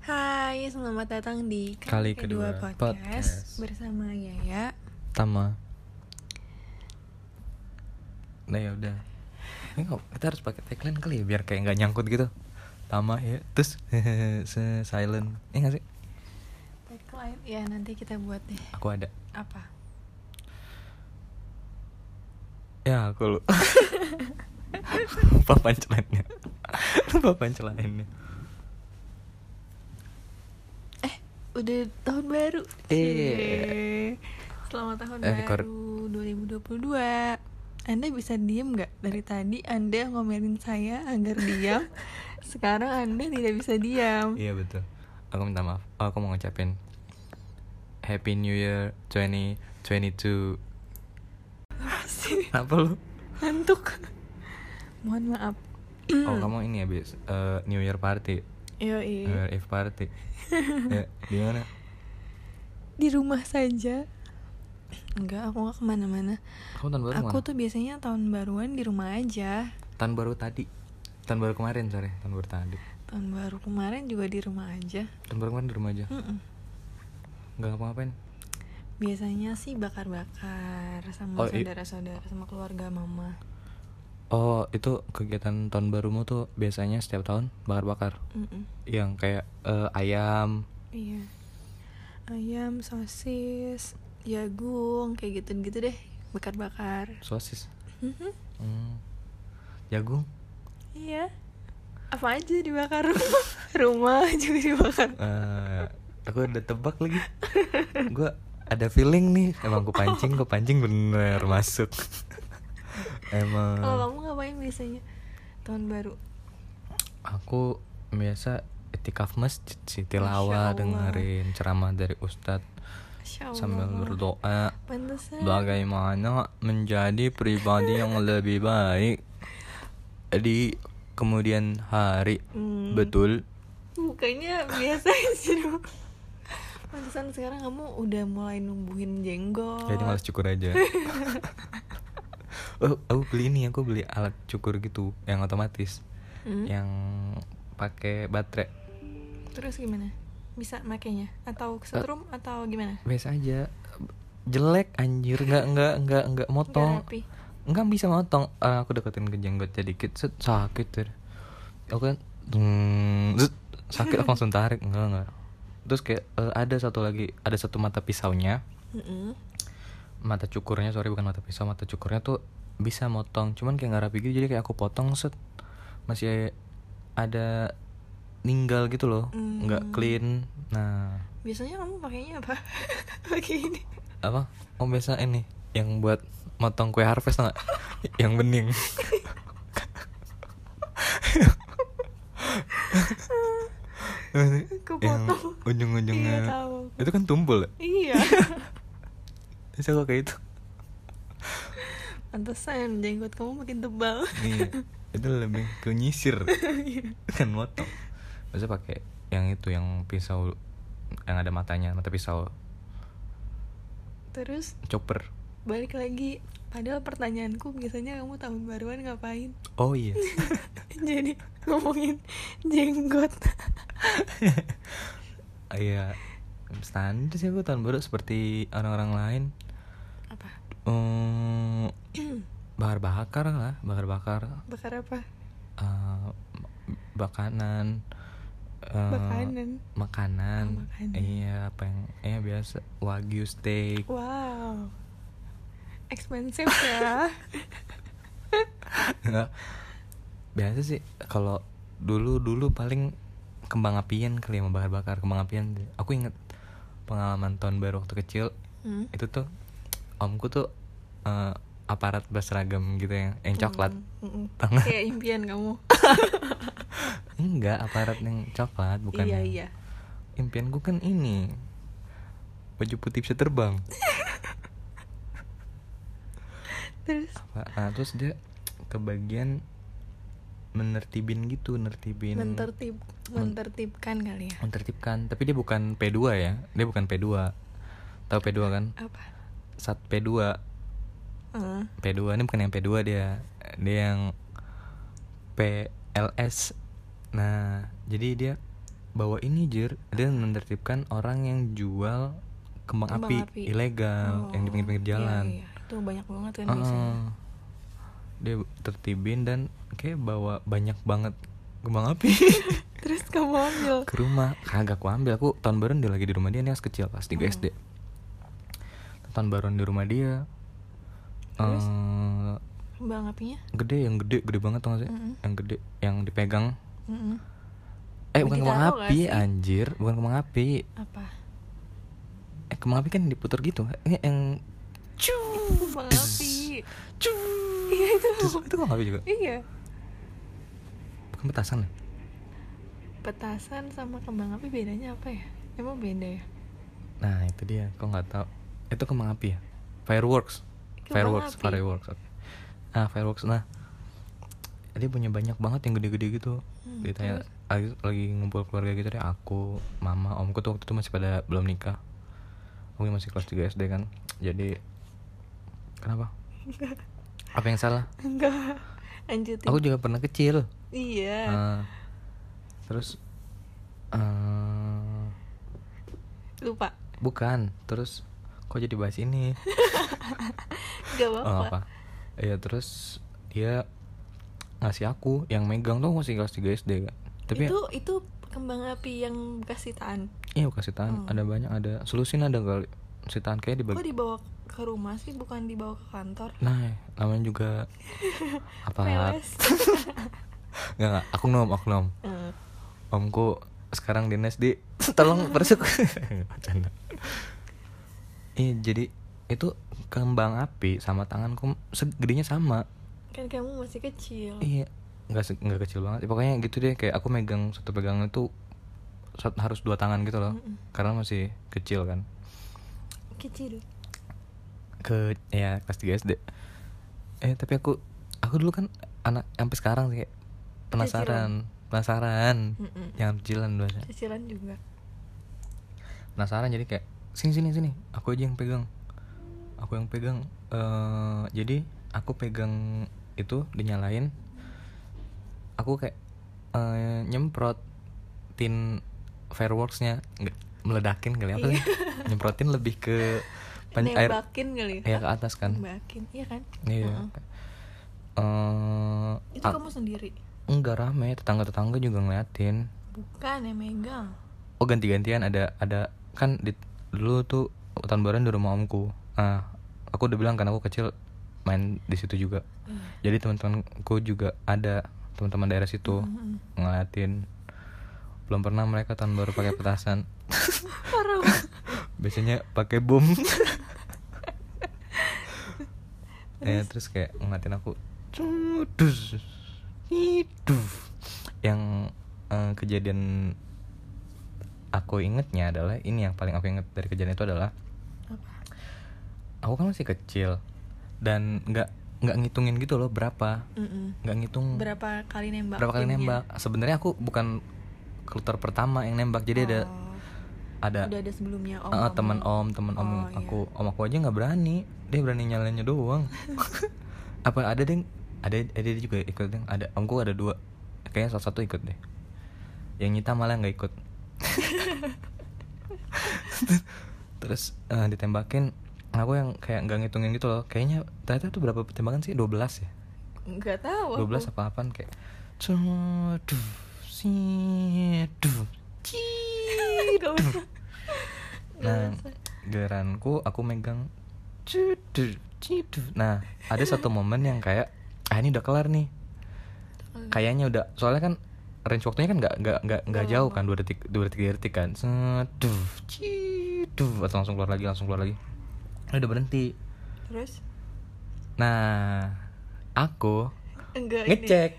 Hai, selamat datang di Kali kedua podcast. podcast, bersama Yaya. Tama. Nah ya udah. Ini kok- kita harus pakai tagline kali ya biar kayak nggak nyangkut gitu. Tama ya, terus se- silent. Eh nggak sih? Tagline ya nanti kita buat deh. Aku ada. Apa? Ya aku lu. Lupa pancelannya. Lupa pancelannya. Udah tahun baru. Eh. Cie. Selamat tahun Eh, record. baru 2022. Anda bisa diem nggak dari tadi? Anda ngomelin saya agar diam. Sekarang Anda tidak bisa diam. Iya betul. Aku minta maaf. Oh, Aku mau ngucapin Happy New Year 2022. Masih Apa lu? ngantuk. Mohon maaf. Oh kamu ini habis eh, New Year party. Yoi. New Year Eve party. ya, gimana? Di rumah saja. Enggak, aku nggak kemana-mana. Kamu tahun baru aku kemana? tuh biasanya tahun baruan di rumah aja Tahun baru tadi. Tahun baru kemarin sorry, tahun baru tadi. tahun baru kemarin juga di rumah aja Tahun baru kemarin di rumah aja. Mm-mm. Hmm. Enggak ngapa-ngapain. biasanya sih bakar-bakar sama Oh, i- saudara-saudara sama keluarga mama Oh, itu kegiatan tahun barumu tuh biasanya setiap tahun bakar-bakar. Mm-mm. Yang kayak eh, ayam. iya ayam sosis jagung kayak gitu-gitu deh bakar-bakar sosis. Mhm. Hmm. Jagung. iya apa aja dibakar rumah rumah juga dibakar Eh, aku udah tebak lagi. Gua ada feeling nih. Emang ku pancing, ku pancing bener masuk. Emang. kalau kamu ngapain biasanya tahun baru Aku biasa itikaf masjid sih Masya Allah. tilawah dengerin ceramah dari ustadz Masya Allah. Ya. sambil berdoa Pantesan. bagaimana menjadi pribadi yang lebih baik di kemudian hari Hmm. betul Bukannya biasa sih dong. Pantesan sekarang kamu udah mulai numbuhin jenggot. jadi malas cukur aja oh, aku beli ini aku beli alat cukur gitu yang otomatis Hmm. yang pakai baterai Terus gimana? Bisa makainya atau kesetrum atau gimana? biasa aja jelek anjir nggak nggak nggak nggak motong Nggak rapi. nggak bisa motong Eh, aku deketin ke jenggotnya dikit set sakit ter aku kan "Hmm," zut, sakit aku langsung tarik enggak enggak terus kayak eh, ada satu lagi ada satu mata pisaunya Mm-mm. mata cukurnya sorry bukan mata pisau mata cukurnya tuh bisa motong cuman kayak nggak rapi gitu jadi kayak aku potong set masih ada ninggal gitu loh nggak clean nah Biasanya kamu pakainya apa? Pakai ini. apa oh biasa ini yang buat motong kue harvest nggak yang bening yang Kepotong. ujung-ujungnya Iya, tahu. itu kan tumpul ya Iya. terus aku kayak itu Pantesan jenggot kamu makin tebal. iya itu lebih ke nyisir kan motong biasa pakai yang itu yang pisau yang ada matanya mata pisau Terus chopper balik lagi. Padahal pertanyaanku biasanya kamu tahun baruan ngapain? oh iya Jadi ngomongin jenggot. iya standar sih aku tahun baru seperti orang-orang lain Apa? Hmm, bakar bakar lah bakar bakar Bakar apa? bakanan eh, Bakanan. makanan Oh, makanan. Oh. iya apa yang eh biasa wagyu steak Wow. Expensive ya. Enggak. biasa sih kalau dulu dulu paling kembang apian kali ya bakar bakar kembang apian aku inget pengalaman tahun baru waktu kecil Hmm. itu tuh omku tuh eh, aparat berseragam gitu yang yang coklat Mm-mm. Tangan. Hmm. Kayak impian kamu. enggak aparat yang coklat bukan Hmm. iya, yang- iya. impian gue kan ini baju putih bisa terbang Terus Apa- nah, terus dia kebagian menertibin gitu nertibin mentertib Hmm. mentertibkan kali ya. menertibkan tapi dia bukan P2 ya dia bukan P2 tahu P2 kan Apa? sat P2 Eh, P2 ini bukan yang P2 dia dia yang PLS nah jadi dia bahwa ini jir dan menertibkan orang yang jual kembang, Kembang api, api. ilegal yang di pinggir-pinggir Iya, jalan. Hmm. iya. Itu banyak banget kan Heeh. biasanya. dia tertibin dan kayak bawa banyak banget kembang api Terus kamu ambil. ke rumah kagak aku ambil aku tahun baru dia lagi di rumah dia nih masih kecil Oh. pas 3 SD tahun baru di rumah dia Terus? eh, Kembang apinya? Hmm. gede yang gede gede banget tau gak sih Mm-mm. yang gede yang dipegang Mm-mm. eh bukan kembang Ditaruh gak api sih? anjir bukan kembang api Apa? eh kembang api kan diputer gitu ini yang Cuuu, kembang api. Cuuu. Iya itu. Terus, itu kembang api juga Iya. bukan petasan ya Petasan sama kembang api bedanya apa ya? Emang beda ya? Nah itu dia, kok nggak tahu? Itu kembang api ya? Fireworks, Kembang fireworks, api. fireworks. oke. Ah fireworks, nah dia punya banyak banget yang gede-gede gitu. Hmm, Dia tanya, lagi, lagi ngumpul keluarga gitu deh, aku, mama, omku tuh waktu itu masih pada belum nikah. Aku masih kelas 3 SD kan, jadi kenapa? Apa yang salah? Enggak. Lanjutin. Aku juga pernah kecil. Iya. Ah, terus eh Lupa. bukan, terus kok jadi bahas ini? Gak Oh, apa-apa. apa? Iya terus dia ngasih aku yang megang tuh masih kelas 3 SD kan. Tapi itu itu kembang api yang bekas sitaan. iya bukan sitaan, ada banyak ada solusin ada kali. Sitaan Kok kayak dibagi. dibawa ke rumah sih bukan dibawa ke kantor? Nah, namanya juga apa? Peles. Enggak, enggak, aku nom, aku nom. Eh, Omku sekarang dinas di E tolong persuk. Bercanda. Iya, jadi itu kembang api sama tanganku segedenya sama. kan kamu masih kecil. Iya, nggak se- nggak kecil banget. Ya, pokoknya gitu deh, kayak aku megang satu pegangan itu sat- harus dua tangan gitu loh, Mm-mm. karena masih kecil kan. Kecil. Ya. Ke ya kelas 3 SD. Eh tapi aku aku dulu kan anak sampai sekarang sih kayak penasaran, penasaran, Mm-mm. jangan kecilan dulu aja. Cicilan juga. Penasaran jadi kayak sini sini sini, aku aja yang pegang, aku yang pegang. eh jadi aku pegang itu dinyalain, aku kayak eh, nyemprot tin fireworksnya nggak meledakin kali apa sih nyemprotin lebih ke pan- air Iya. Nembakin kali ya ke atas kan Nembakin, iya kan? iya Heeh. Eh, Itu ah, kamu sendiri. enggak rame tetangga tetangga juga ngeliatin Bukan yang megang. oh ganti gantian ada ada kan di, dulu tuh tahun baruan di rumah omku ah aku udah bilang kan aku kecil main di situ juga jadi teman-temanku juga ada teman-teman daerah situ Mm-mm. ngeliatin belum pernah mereka tahun baru pakai petasan Parah banget. biasanya pakai bom ya terus kayak ngeliatin aku cudus itu yang eh, kejadian aku ingetnya adalah ini yang paling aku inget dari kejadian itu adalah Apa? aku kan masih kecil dan nggak nggak ngitungin gitu loh berapa Mm-mm. nggak ngitung Berapa kali nembak? Hmm. berapa kali nembak sebenarnya aku bukan keluar pertama yang nembak jadi ada Oh, ada Oh. Udah ada sebelumnya om. Heeh, om, teman om. om teman om Oh, aku om aku aja nggak berani dia berani nyalainnya doang apa ada deh ada ada dia juga ikut deh ada omku ada dua kayaknya salah satu ikut deh yang nyita malah nggak ikut terus eh, ditembakin aku yang kayak nggak ngitungin gitu loh kayaknya ternyata tuh berapa tembakan sih 12 ya Enggak tahu. aku. 12 apa apaan kayak Cuduh, siduh, Ih, gak usah. Iya, Nah, giliranku aku megang cidur, cidur. Nah, ada satu momen yang kayak ah ini udah kelar nih. Kayaknya udah soalnya kan range waktunya kan nggak nggak nggak Iya, nggak jauh kan dua detik dua detik tiga detik kan seduh ciduh atau langsung keluar lagi langsung keluar lagi Ini udah berhenti Terus nah aku enggak Ya, ini. ngecek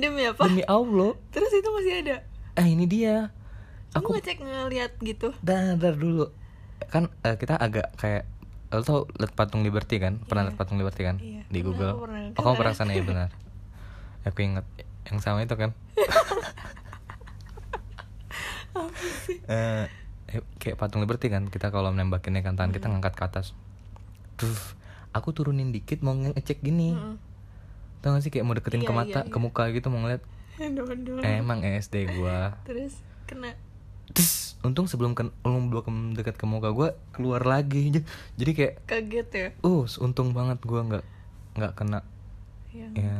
Demi apa? demi allah Terus itu masih ada. eh ini dia Kamu ngecek ngeliat gitu. Dar, dar dulu. Kan eh, kita agak kayak lo tau liat patung Liberty kan? Pernah liat patung Liberty kan? Iya, Di pernah, Google. aku pernah Oh, kamu pernah kesana ya benar. Aku inget yang sama itu kan. Eh, eh, kayak patung Liberty kan kita kalau nembakinnya kan tangan Hmm. kita ngangkat ke atas. Duh, aku turunin dikit mau ngecek gini. Tau gak sih kayak mau Hmm. deketin Iya, ke iya, mata, iya. ke muka gitu mau ngeliat. Aduh, aduh. Emang SD gua Terus kena Tes, untung sebelum ken, belum belum dekat ke muka gue keluar lagi J- jadi kayak kaget ya uh untung banget gue nggak nggak kena yang ya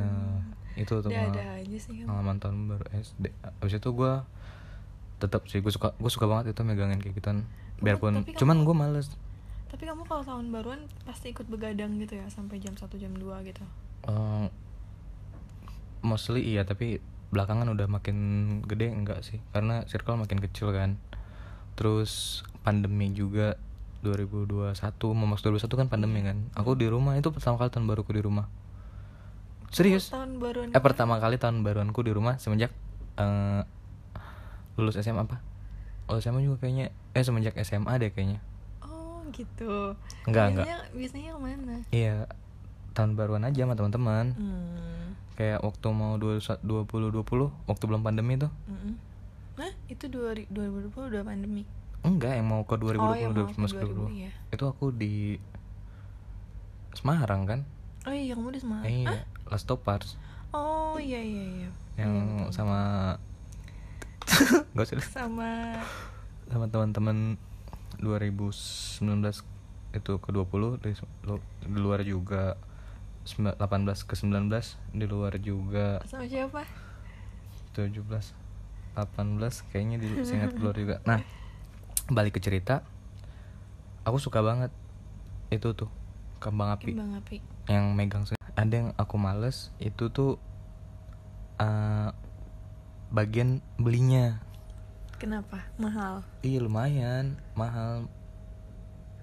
itu ada tuh ada pengalaman- aja sih kamu. pengalaman tahun baru SD abis itu gue tetap sih gue suka gue suka banget itu megangin kayak gituan biarpun tapi kamu- cuman gue males tapi kamu kalau tahun baruan pasti ikut begadang gitu ya sampai jam 1 jam 2 gitu Eh, mostly iya tapi belakangan udah makin gede enggak sih karena circle makin kecil kan terus pandemi juga 2021 mau masuk 2021 kan pandemi kan aku di rumah itu pertama kali tahun baruku di rumah serius Oh, tahun baruan eh pertama kali tahun baruanku di rumah semenjak eh, lulus SMA apa oh SMA juga kayaknya eh semenjak SMA deh kayaknya oh gitu Enggak, biasanya biasanya kemana iya tahun baruan aja sama teman-teman hmm. kayak waktu mau 2020 20 waktu belum pandemi tuh Mm-mm. Hah? itu 2000 2020 udah pandemi enggak yang mau ke 2020 Oh, yang mau ke 2020, 2020. iya. itu aku di Semarang kan oh iya kamu di Semarang eh, Hah? iya Ya, Lastopars oh iya iya iya yang sama gak usah deh. sama sama teman-teman 2019 itu ke 20 di, lu- di luar juga Sembilan- 18 ke 19 di luar juga sama siapa 17 18 kayaknya di saya ingat keluar juga nah balik ke cerita aku suka banget itu tuh kembang api Kembang api yang megang sen- ada yang aku males itu tuh eh, bagian belinya kenapa mahal iya lumayan mahal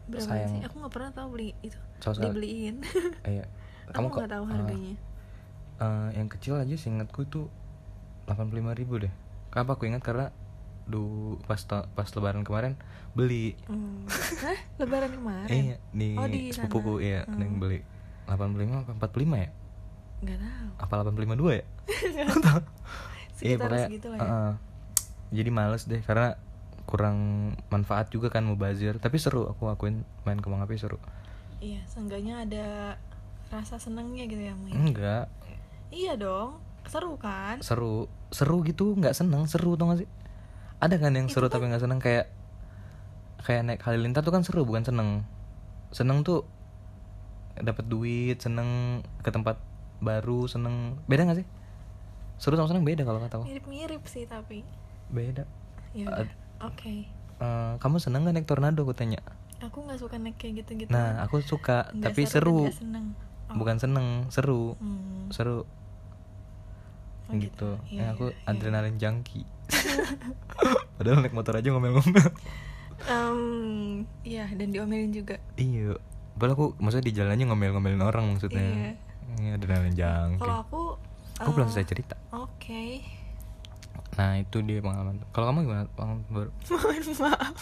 berapa Sayang. sih aku nggak pernah tahu beli itu Sama sekali. dibeliin kayak aku nggak tahu eh, harganya iya. eh, yang kecil aja seingatku itu 85.000 deh kenapa aku ingat karena du pas ta- pas lebaran kemarin beli Hmm. Hah? lebaran kemarin Eh, di Oh, di sepupuku sana. iya, ada yang beli 85 apa 45 ya? nggak tahu Apa 85 dua ya? Iya, sekitar pokoknya, segitu lah ya uh-uh. Jadi males deh karena kurang manfaat juga kan mubazir, tapi seru aku akuin main kembang api seru. iya seenggaknya ada rasa senangnya gitu ya main Enggak, iya dong seru kan seru. Seru gitu nggak seneng, seru tau gak sih? Ada kan yang seru tapi nggak seneng kayak kayak naik halilintar tuh kan seru bukan seneng. Seneng tuh dapat duit, seneng ke tempat baru, seneng beda nggak sih? Seru sama seneng beda kalau kata aku. mirip-mirip sih tapi Beda. ya udah. oke Eh, kamu seneng gak naik tornado? Aku tanya. aku nggak suka naik kayak gitu gitu Nah, aku suka, tapi seru. seneng Oh, Bukan seneng, seru, hmm. seru. Oh, gitu. gitu. Iya, Ya, aku iya, iya. adrenalin junkie. Padahal naik motor aja ngomel-ngomel. Hmm. Em, iya dan diomelin juga iya. Padahal aku maksudnya di jalannya ngomel-ngomelin orang maksudnya. Iya. Ini adrenalin junkie. kalau aku Aku eh, belum selesai cerita. oke Nah, itu dia pengalaman. Kalau kamu gimana? Pengalaman baru. mohon maaf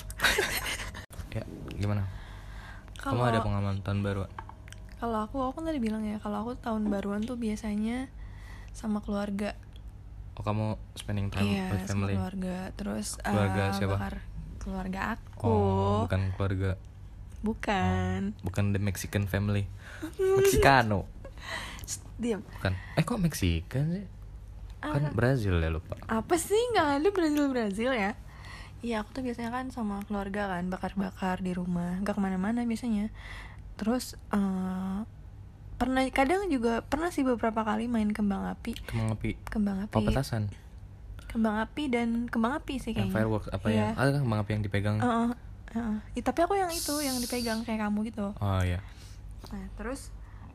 Ya, gimana? Kamu Kalau- ada pengalaman tahun baru? kalau aku aku kan tadi bilang ya kalau aku tahun baruan tuh biasanya sama keluarga Oh, kamu spending time iya with sama family. keluarga terus eh, Keluarga siapa? bakar- keluarga aku Hmm. Oh, bukan keluarga. bukan. Bukan the Mexican family. Mexicano. Oh. Shh, diam Bukan. Eh kok Mexican sih? Ah. Kan Brazil ya lupa. apa sih nggak ada Brazil Brazil ya Iya aku tuh biasanya kan sama keluarga kan bakar-bakar di rumah nggak kemana-mana biasanya terus eh, pernah kadang juga pernah sih beberapa kali main kembang api Kembang api. kembang api Oh, petasan. kembang api dan kembang api sih Yang kayaknya fireworks apa Iya. Ah. ya? Ada kan kembang api yang dipegang? Heeh, heeh. Ih, tapi aku yang itu yang dipegang kayak kamu gitu Oh iya. nah terus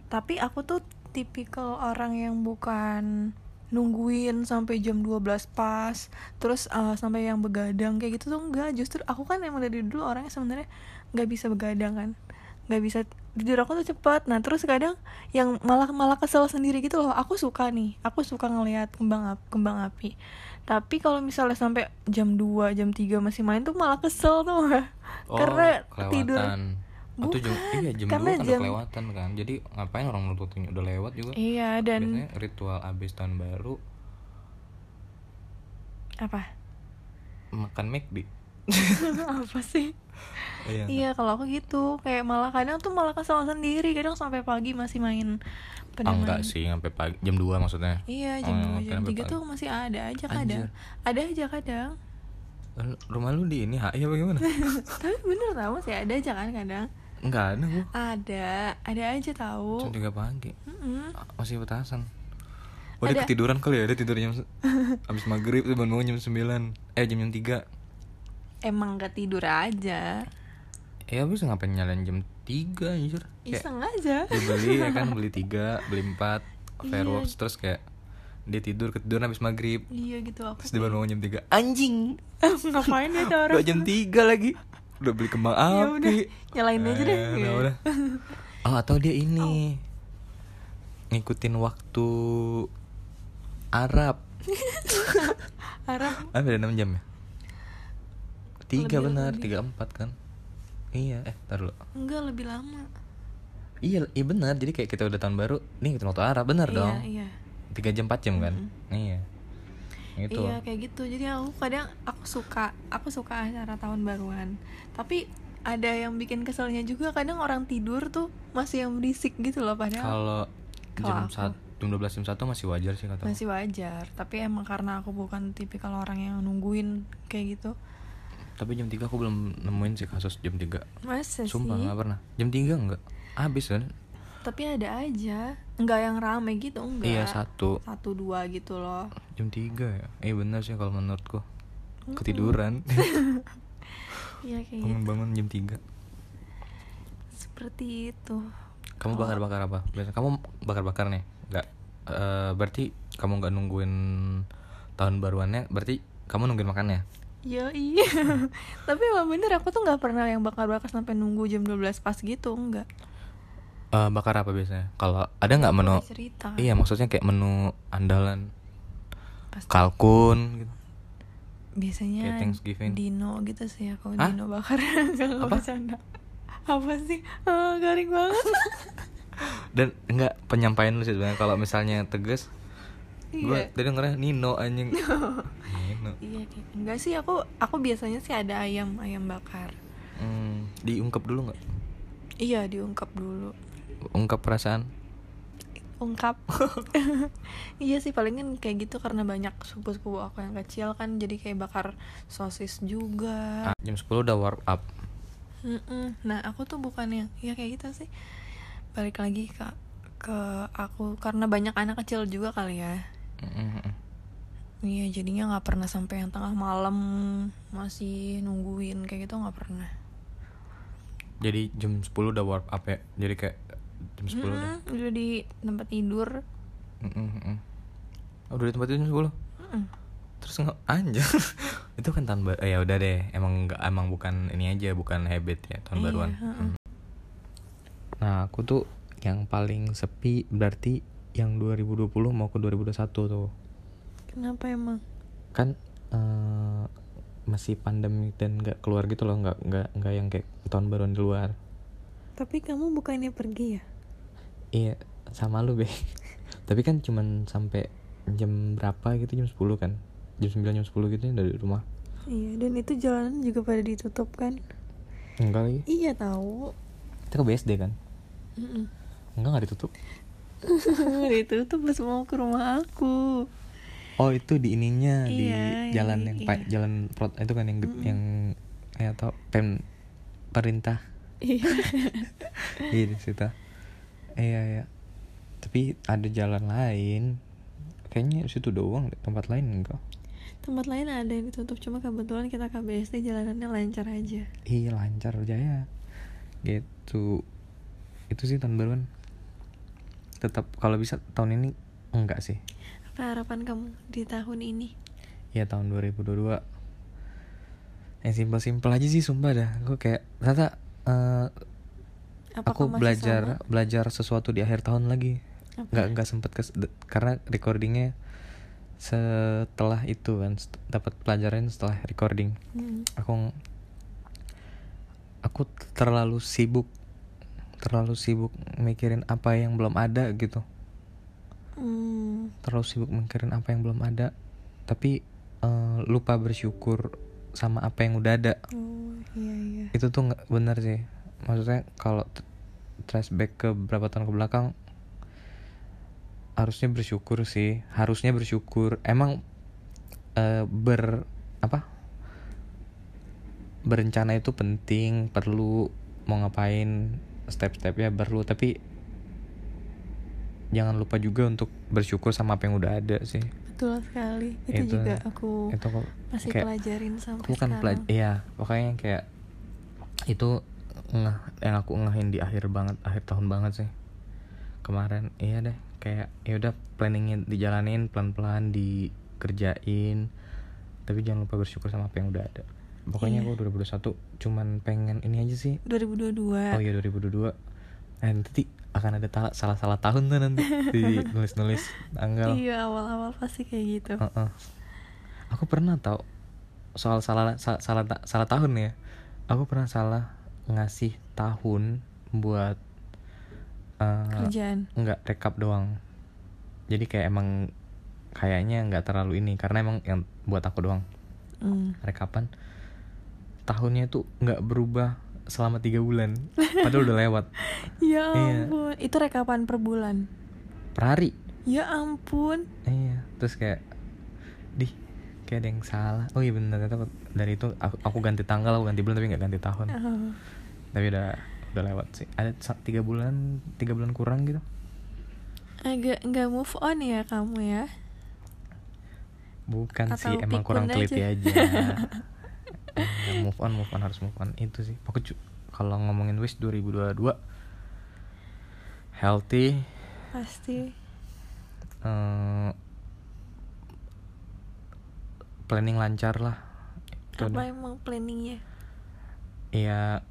tapi aku tuh tipikal orang yang bukan nungguin sampai jam 12 pas terus eh, sampai yang begadang kayak gitu tuh enggak justru aku kan emang dari dulu orangnya sebenarnya nggak bisa begadang kan nggak bisa tidur aku tuh cepet nah terus kadang yang malah malah kesel sendiri gitu loh aku suka nih aku suka ngelihat kembang ap- kembang api tapi kalau misalnya sampai jam 2 jam 3 masih main tuh malah kesel tuh Oh, karena kelewatan. tidur Atau jam, Bukan, iya, jam karena dua jam- kan udah kelewatan kan. Jadi ngapain orang nurutin udah lewat juga? iya dan Biasanya ritual abis tahun baru apa makan McD. apa sih Iya. iya kalau aku gitu kayak malah kadang tuh malah kesel sendiri kadang sampai pagi masih main Ah, pedoman enggak sih sampai pagi jam 2 maksudnya. iya jam Oh, dua oke, jam sampai tiga pagi. tuh masih ada aja kadang ada aja kadang Lalu, rumah lu di ini HI apa gimana? tapi bener tau sih ada aja kan kadang Enggak ada gua. ada ada aja Jam tahu 3 pagi. Mm-mm. Ah, Masih petasan. Oh, dia Ada. ketiduran kali ya, dia tidur jam se- abis maghrib tuh bangun jam 9 Eh jam jam 3 emang gak tidur aja Eh abis ngapain nyalain jam 3 anjir Kayak iseng aja dia beli ya kan beli 3, beli 4 Fireworks terus kayak Dia tidur ketiduran abis maghrib iya gitu aku Terus dia baru bangun jam 3 Anjing ngapain ya ada orang Udah jam 3 lagi Udah beli kembang Ya udah, api nyalain aja deh. Eh, udah, udah. Oh atau dia ini Ngikutin waktu Arab Arab Ah beda 6 jam ya? Lebih, 3 benar, lebih. 3 4 kan? Iya, eh tar dulu enggak lebih lama Iya, iya benar. Jadi kayak kita udah tahun baru, nih ngikutin waktu Arab, benar iya dong. iya 3 jam 4 jam kan? Iya. Gitu. Hmm. Iya kayak gitu. Jadi aku kadang aku suka aku suka acara tahun baruan. Tapi ada yang bikin keselnya juga kadang orang tidur tuh masih yang berisik gitu loh padahal Kalau Kalau jam aku. 1 jam 12 jam 1 masih wajar sih kata. aku. masih wajar. Tapi emang karena aku bukan tipikal orang yang nungguin kayak gitu. Tapi jam 3 aku belum nemuin sih kasus jam 3. Masa Iya Sumpah sih? nggak pernah. Jam 3 enggak. Habis kan? Tapi ada aja. Enggak yang rame gitu enggak. Iya, satu. Satu dua gitu loh. Jam 3 ya. Eh benar sih kalau menurutku. Hmm. Ketiduran. Iya kayak gitu. Bangun-bangun jam 3. Seperti itu. Kamu bakar-bakar apa? Biasa kamu bakar-bakar nih. Enggak. Eh, berarti kamu nggak nungguin tahun baruannya, berarti kamu nungguin makannya. Yo iya. Tapi emang bener aku tuh nggak pernah yang bakar-bakar sampai nunggu jam 12 pas gitu enggak. Eh, bakar apa biasanya? Kalau ada nggak menu? Udah cerita Iya, maksudnya kayak menu andalan. Pasti. Kalkun gitu. Kayak biasanya Thanksgiving. Dino gitu sih ya kalau Hah? Dino bakar gak Apa? bercanda apa sih Ah, garing banget Dan enggak penyampaian lu sih sebenarnya kalau misalnya tegas Gue iya tadi dengernya Nino anjing. Nino. iya kayak- enggak sih aku aku biasanya sih ada ayam ayam bakar Hmm, diungkep dulu nggak? iya diungkap dulu Ungkap perasaan. ungkap iya sih palingan kayak gitu karena banyak sepupu-sepupu aku yang kecil kan jadi kayak bakar sosis juga Ah, jam 10 udah warm up. Mm-mm. Nah aku tuh bukan yang ya kayak gitu sih balik lagi ke ke aku karena banyak anak kecil juga kali ya. Mm-mm. Iya jadinya nggak pernah sampai yang tengah malam masih nungguin kayak gitu nggak pernah. Jadi jam 10 udah warm up ya. Jadi kayak jam 10 udah. Mm-mm, udah di tempat tidur. Mm-mm, mm-mm. Oh, udah di tempat itu jam 10. Mm-mm. Terus nggak anjir. itu kan tahun baru. ya udah deh, emang nggak emang bukan ini aja, bukan habit ya tahun Iya, baruan. heeh. Mm. Nah, aku tuh yang paling sepi berarti yang 2020 mau ke 2021 tuh. Kenapa emang? kan eh, masih pandemi dan nggak keluar gitu loh nggak nggak nggak yang kayak tahun baruan di luar Tapi kamu bukannya pergi ya? iya sama lu be tapi kan cuman sampai jam berapa gitu jam 10 kan jam 9 jam 10 gitu ya dari rumah Iya dan itu jalanan juga pada ditutup kan? enggak lagi Iya tahu. kita ke BSD kan enggak nggak ditutup ditutup pas mau ke rumah aku. oh itu di Iya, ininya di jalan iya, yang iya. pa- jalan prot itu kan yang ged- yang eh, atau pem perintah Iya. iya di situ iya iya tapi ada jalan lain kayaknya di situ doang deh, tempat lain enggak Tempat lain ada yang ditutup cuma kebetulan kita KBSD jalanannya lancar aja. iya lancar jaya gitu itu sih tahun baruan tetap kalau bisa tahun ini enggak sih Apa harapan kamu di tahun ini? ya tahun 2022 yang Ya, simpel-simpel aja sih sumpah dah gue kayak ternyata eh, Apakah aku masih belajar sama? belajar sesuatu di akhir tahun lagi Apa? nggak nggak sempet kes- de- karena recordingnya setelah itu kan set- dapat pelajaran setelah recording Hmm. aku ng- aku terlalu sibuk terlalu sibuk mikirin apa yang belum ada gitu Hmm. terlalu sibuk mikirin apa yang belum ada tapi eh, lupa bersyukur sama apa yang udah ada Oh, iya iya. itu tuh nggak bener sih maksudnya kalau t- trace back ke beberapa tahun ke belakang harusnya bersyukur sih harusnya bersyukur emang eh, ber apa berencana itu penting perlu mau ngapain step-stepnya perlu tapi jangan lupa juga untuk bersyukur sama apa yang udah ada sih betul sekali itu, Itu- juga aku itu kok Oh, masih kayak- pelajarin sampai bukan sekarang pelaj- iya makanya kayak itu ngeh yang aku ngehin di akhir banget akhir tahun banget sih kemarin iya deh kayak ya udah planningnya dijalanin pelan-pelan dikerjain tapi jangan lupa bersyukur sama apa yang udah ada pokoknya aku 2021 cuman pengen ini aja sih 2022 oh iya 2022 nah, nanti akan ada tala- salah-salah tahun tuh nanti di nulis-nulis tanggal iya awal-awal pasti kayak gitu Heeh. Aku pernah tau soal salah sa- salah ta- salah tahun ya. Aku pernah salah ngasih tahun buat eh kerjaan nggak rekap doang. Jadi kayak emang kayaknya nggak terlalu ini karena emang yang buat aku doang Hmm. rekapan tahunnya itu nggak berubah selama tiga bulan padahal udah lewat ya Iya. ampun itu rekapan per bulan per hari ya ampun iya terus kayak di kayak ada yang salah oh iya bener ternyata dari itu aku, aku ganti tanggal aku ganti bulan tapi nggak ganti tahun Oh. tapi udah udah lewat sih ada sa- tiga bulan tiga bulan kurang gitu agak nggak move on ya kamu ya bukan Atau sih emang pikun kurang teliti aja. aja, Emang move on move on harus move on itu sih pokoknya cu- kalau ngomongin wish 2022 healthy pasti eh, planning lancar lah Itu apa deh. emang planningnya Iya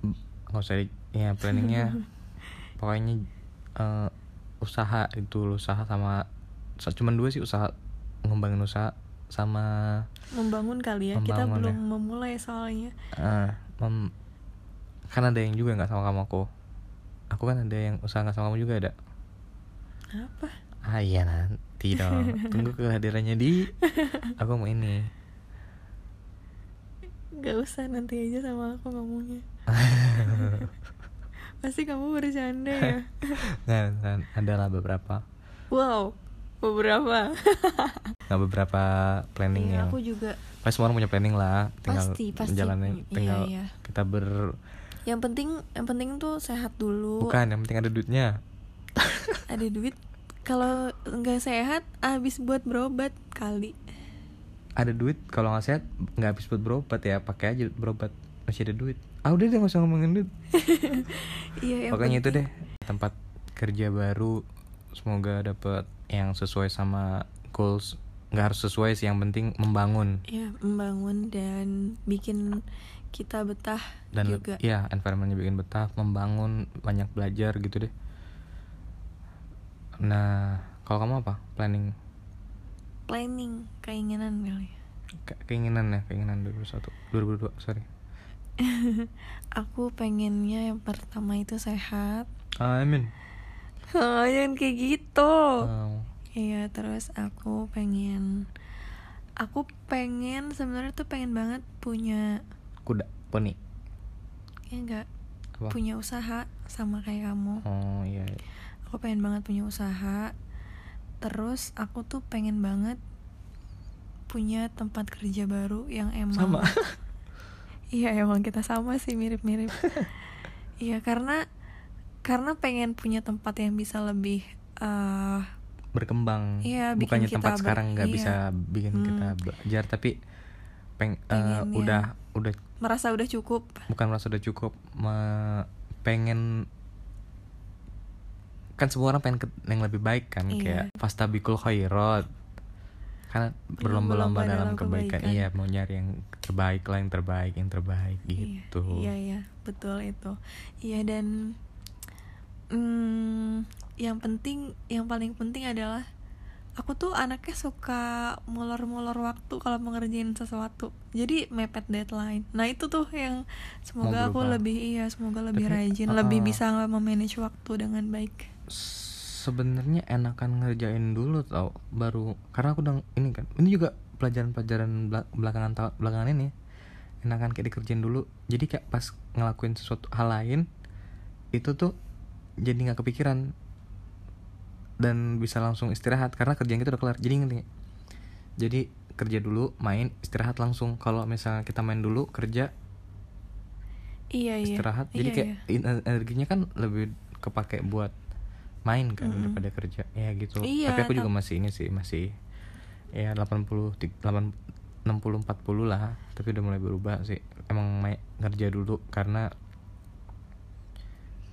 m- nggak usah di, ya planningnya pokoknya eh, usaha itu loh, usaha sama sa- cuman dua sih usaha ngembangin usaha sama membangun kali ya kita Membangun belum ya. memulai soalnya eh, mem- kan ada yang juga nggak sama kamu aku aku kan ada yang usaha nggak sama kamu juga ada apa ah iya nanti dong tunggu kehadirannya di aku mau ini nggak usah nanti aja sama aku ngomongnya pasti kamu bercanda ya nah, nah adalah beberapa wow beberapa nah beberapa Iya, planning yang aku juga Pasti semua orang punya planning lah, tinggal Pasti, pasti. jalanin, Iya, tinggal iya. kita ber yang penting yang penting tuh sehat dulu bukan yang penting ada duitnya. ada duit kalau nggak sehat habis buat berobat kali Ada duit kalau nggak sehat nggak habis buat berobat ya, pakai aja berobat masih ada duit. Ah udah deh nggak usah ngomongin duit. iya yang Pokoknya itu penting- deh tempat kerja baru semoga dapat yang sesuai sama goals nggak harus sesuai sih yang penting membangun ya membangun dan bikin kita betah dan le- juga ya environmentnya bikin betah membangun banyak belajar gitu deh nah kalau kamu apa planning planning keinginan kali ya. Ke- keinginan ya keinginan 2021 2002 sorry aku pengennya yang pertama itu sehat amin Hah, jangan kayak gitu Wow. iya terus aku pengen aku pengen sebenarnya tuh pengen banget punya kuda poni ya enggak apa punya usaha sama kayak kamu oh iya iya. aku pengen banget punya usaha terus aku tuh pengen banget punya tempat kerja baru yang emang sama iya emang kita sama sih mirip-mirip iya karena karena pengen punya tempat yang bisa lebih eh berkembang Iya, bikin bukannya kita tempat ber- sekarang nggak iya. bisa bikin Hmm. kita belajar tapi peng eh, Pengen yang- udah udah merasa udah cukup bukan merasa udah cukup me- pengen kan semua orang pengen ke, yang lebih baik kan Iya. kayak fastabikul khairat karena berlomba-lomba dalam, kebaikan. iya mau nyari yang terbaik lah yang terbaik yang terbaik Iya, gitu iya iya betul itu iya dan mm, yang penting yang paling penting adalah aku tuh anaknya suka molor-molor waktu kalau mau ngerjain sesuatu jadi mepet deadline nah itu tuh yang semoga aku berubah. lebih iya semoga lebih Tapi, rajin uh-uh. lebih bisa memanage waktu dengan baik sebenarnya enakan ngerjain dulu tau baru karena aku udah ini kan ini juga pelajaran-pelajaran bela- belakangan ta- belakangan ini enakan kayak dikerjain dulu jadi kayak pas ngelakuin sesuatu hal lain itu tuh jadi nggak kepikiran dan bisa langsung istirahat karena kerjaan kita udah kelar jadi ngerti nggak? jadi kerja dulu main istirahat langsung kalau misalnya kita main dulu kerja iya iya istirahat jadi Iya, kayak iya. in- energinya kan lebih kepake buat main kan daripada kerja ya gitu Iya, tapi aku juga tap- masih ini sih masih ya 80 ti- 8 60 40 lah tapi udah mulai berubah sih emang main kerja dulu karena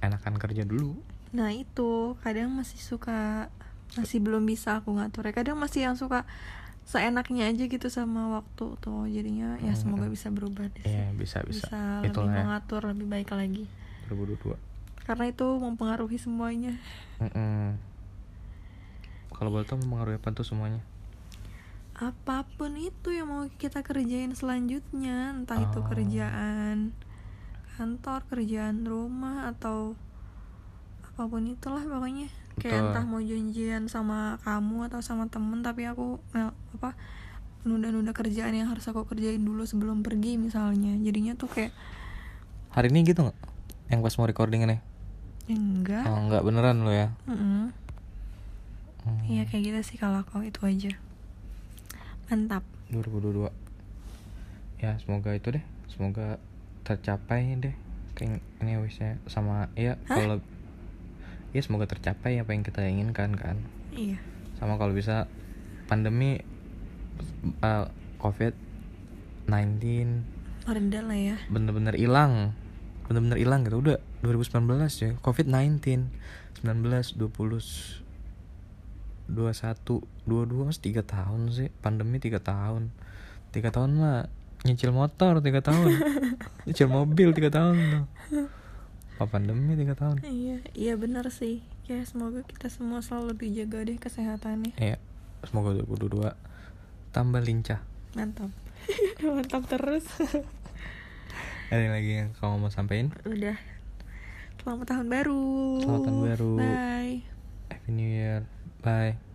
enakan kerja dulu Nah itu kadang masih suka masih belum bisa aku ngatur. Kadang masih yang suka seenaknya aja gitu sama waktu tuh. Jadinya ya semoga bisa berubah deh sih. ya bisa Hmm, bisa, Bisa lebih itulah ya mengatur lebih baik lagi. 2022 Karena itu mempengaruhi semuanya. Mm-mm. Kalau boleh tahu mempengaruhi apa tuh semuanya? Apapun itu yang mau kita kerjain selanjutnya, entah itu Oh. kerjaan kantor, kerjaan rumah atau apapun itulah pokoknya. Kayak Betul. entah mau janjian sama kamu atau sama temen tapi aku eh, apa nunda-nunda kerjaan yang harus aku kerjain dulu sebelum pergi misalnya. Jadinya tuh kayak Hari ini gitu nggak? Yang pas mau recording nih? ya enggak. Oh, nggak beneran lo ya? Mm-mm. Hmm, Iya kayak gitu sih kalau aku itu aja. Mantap. 2022. Ya semoga itu deh. Semoga tercapai deh. Kayak ini wishnya sama ya kalau ya semoga tercapai apa yang kita inginkan kan. Iya. Sama kalau bisa pandemi eh, COVID 19 Merendah lah ya. bener-bener hilang bener-bener hilang gitu udah 2019 ya covid 19 19 20 21 22 mas 3 tahun sih pandemi 3 tahun 3 tahun mah nyicil motor 3 tahun nyicil mobil 3 tahun tuh. apa pandemi 3 tahun Iya, iya benar sih. Ya semoga kita semua selalu dijaga deh kesehatannya. ya semoga 2022 tambah lincah Mantap. Mantap terus. ada yang lagi yang kamu mau sampein Udah. Selamat tahun baru. Selamat tahun baru. Bye. happy new year bye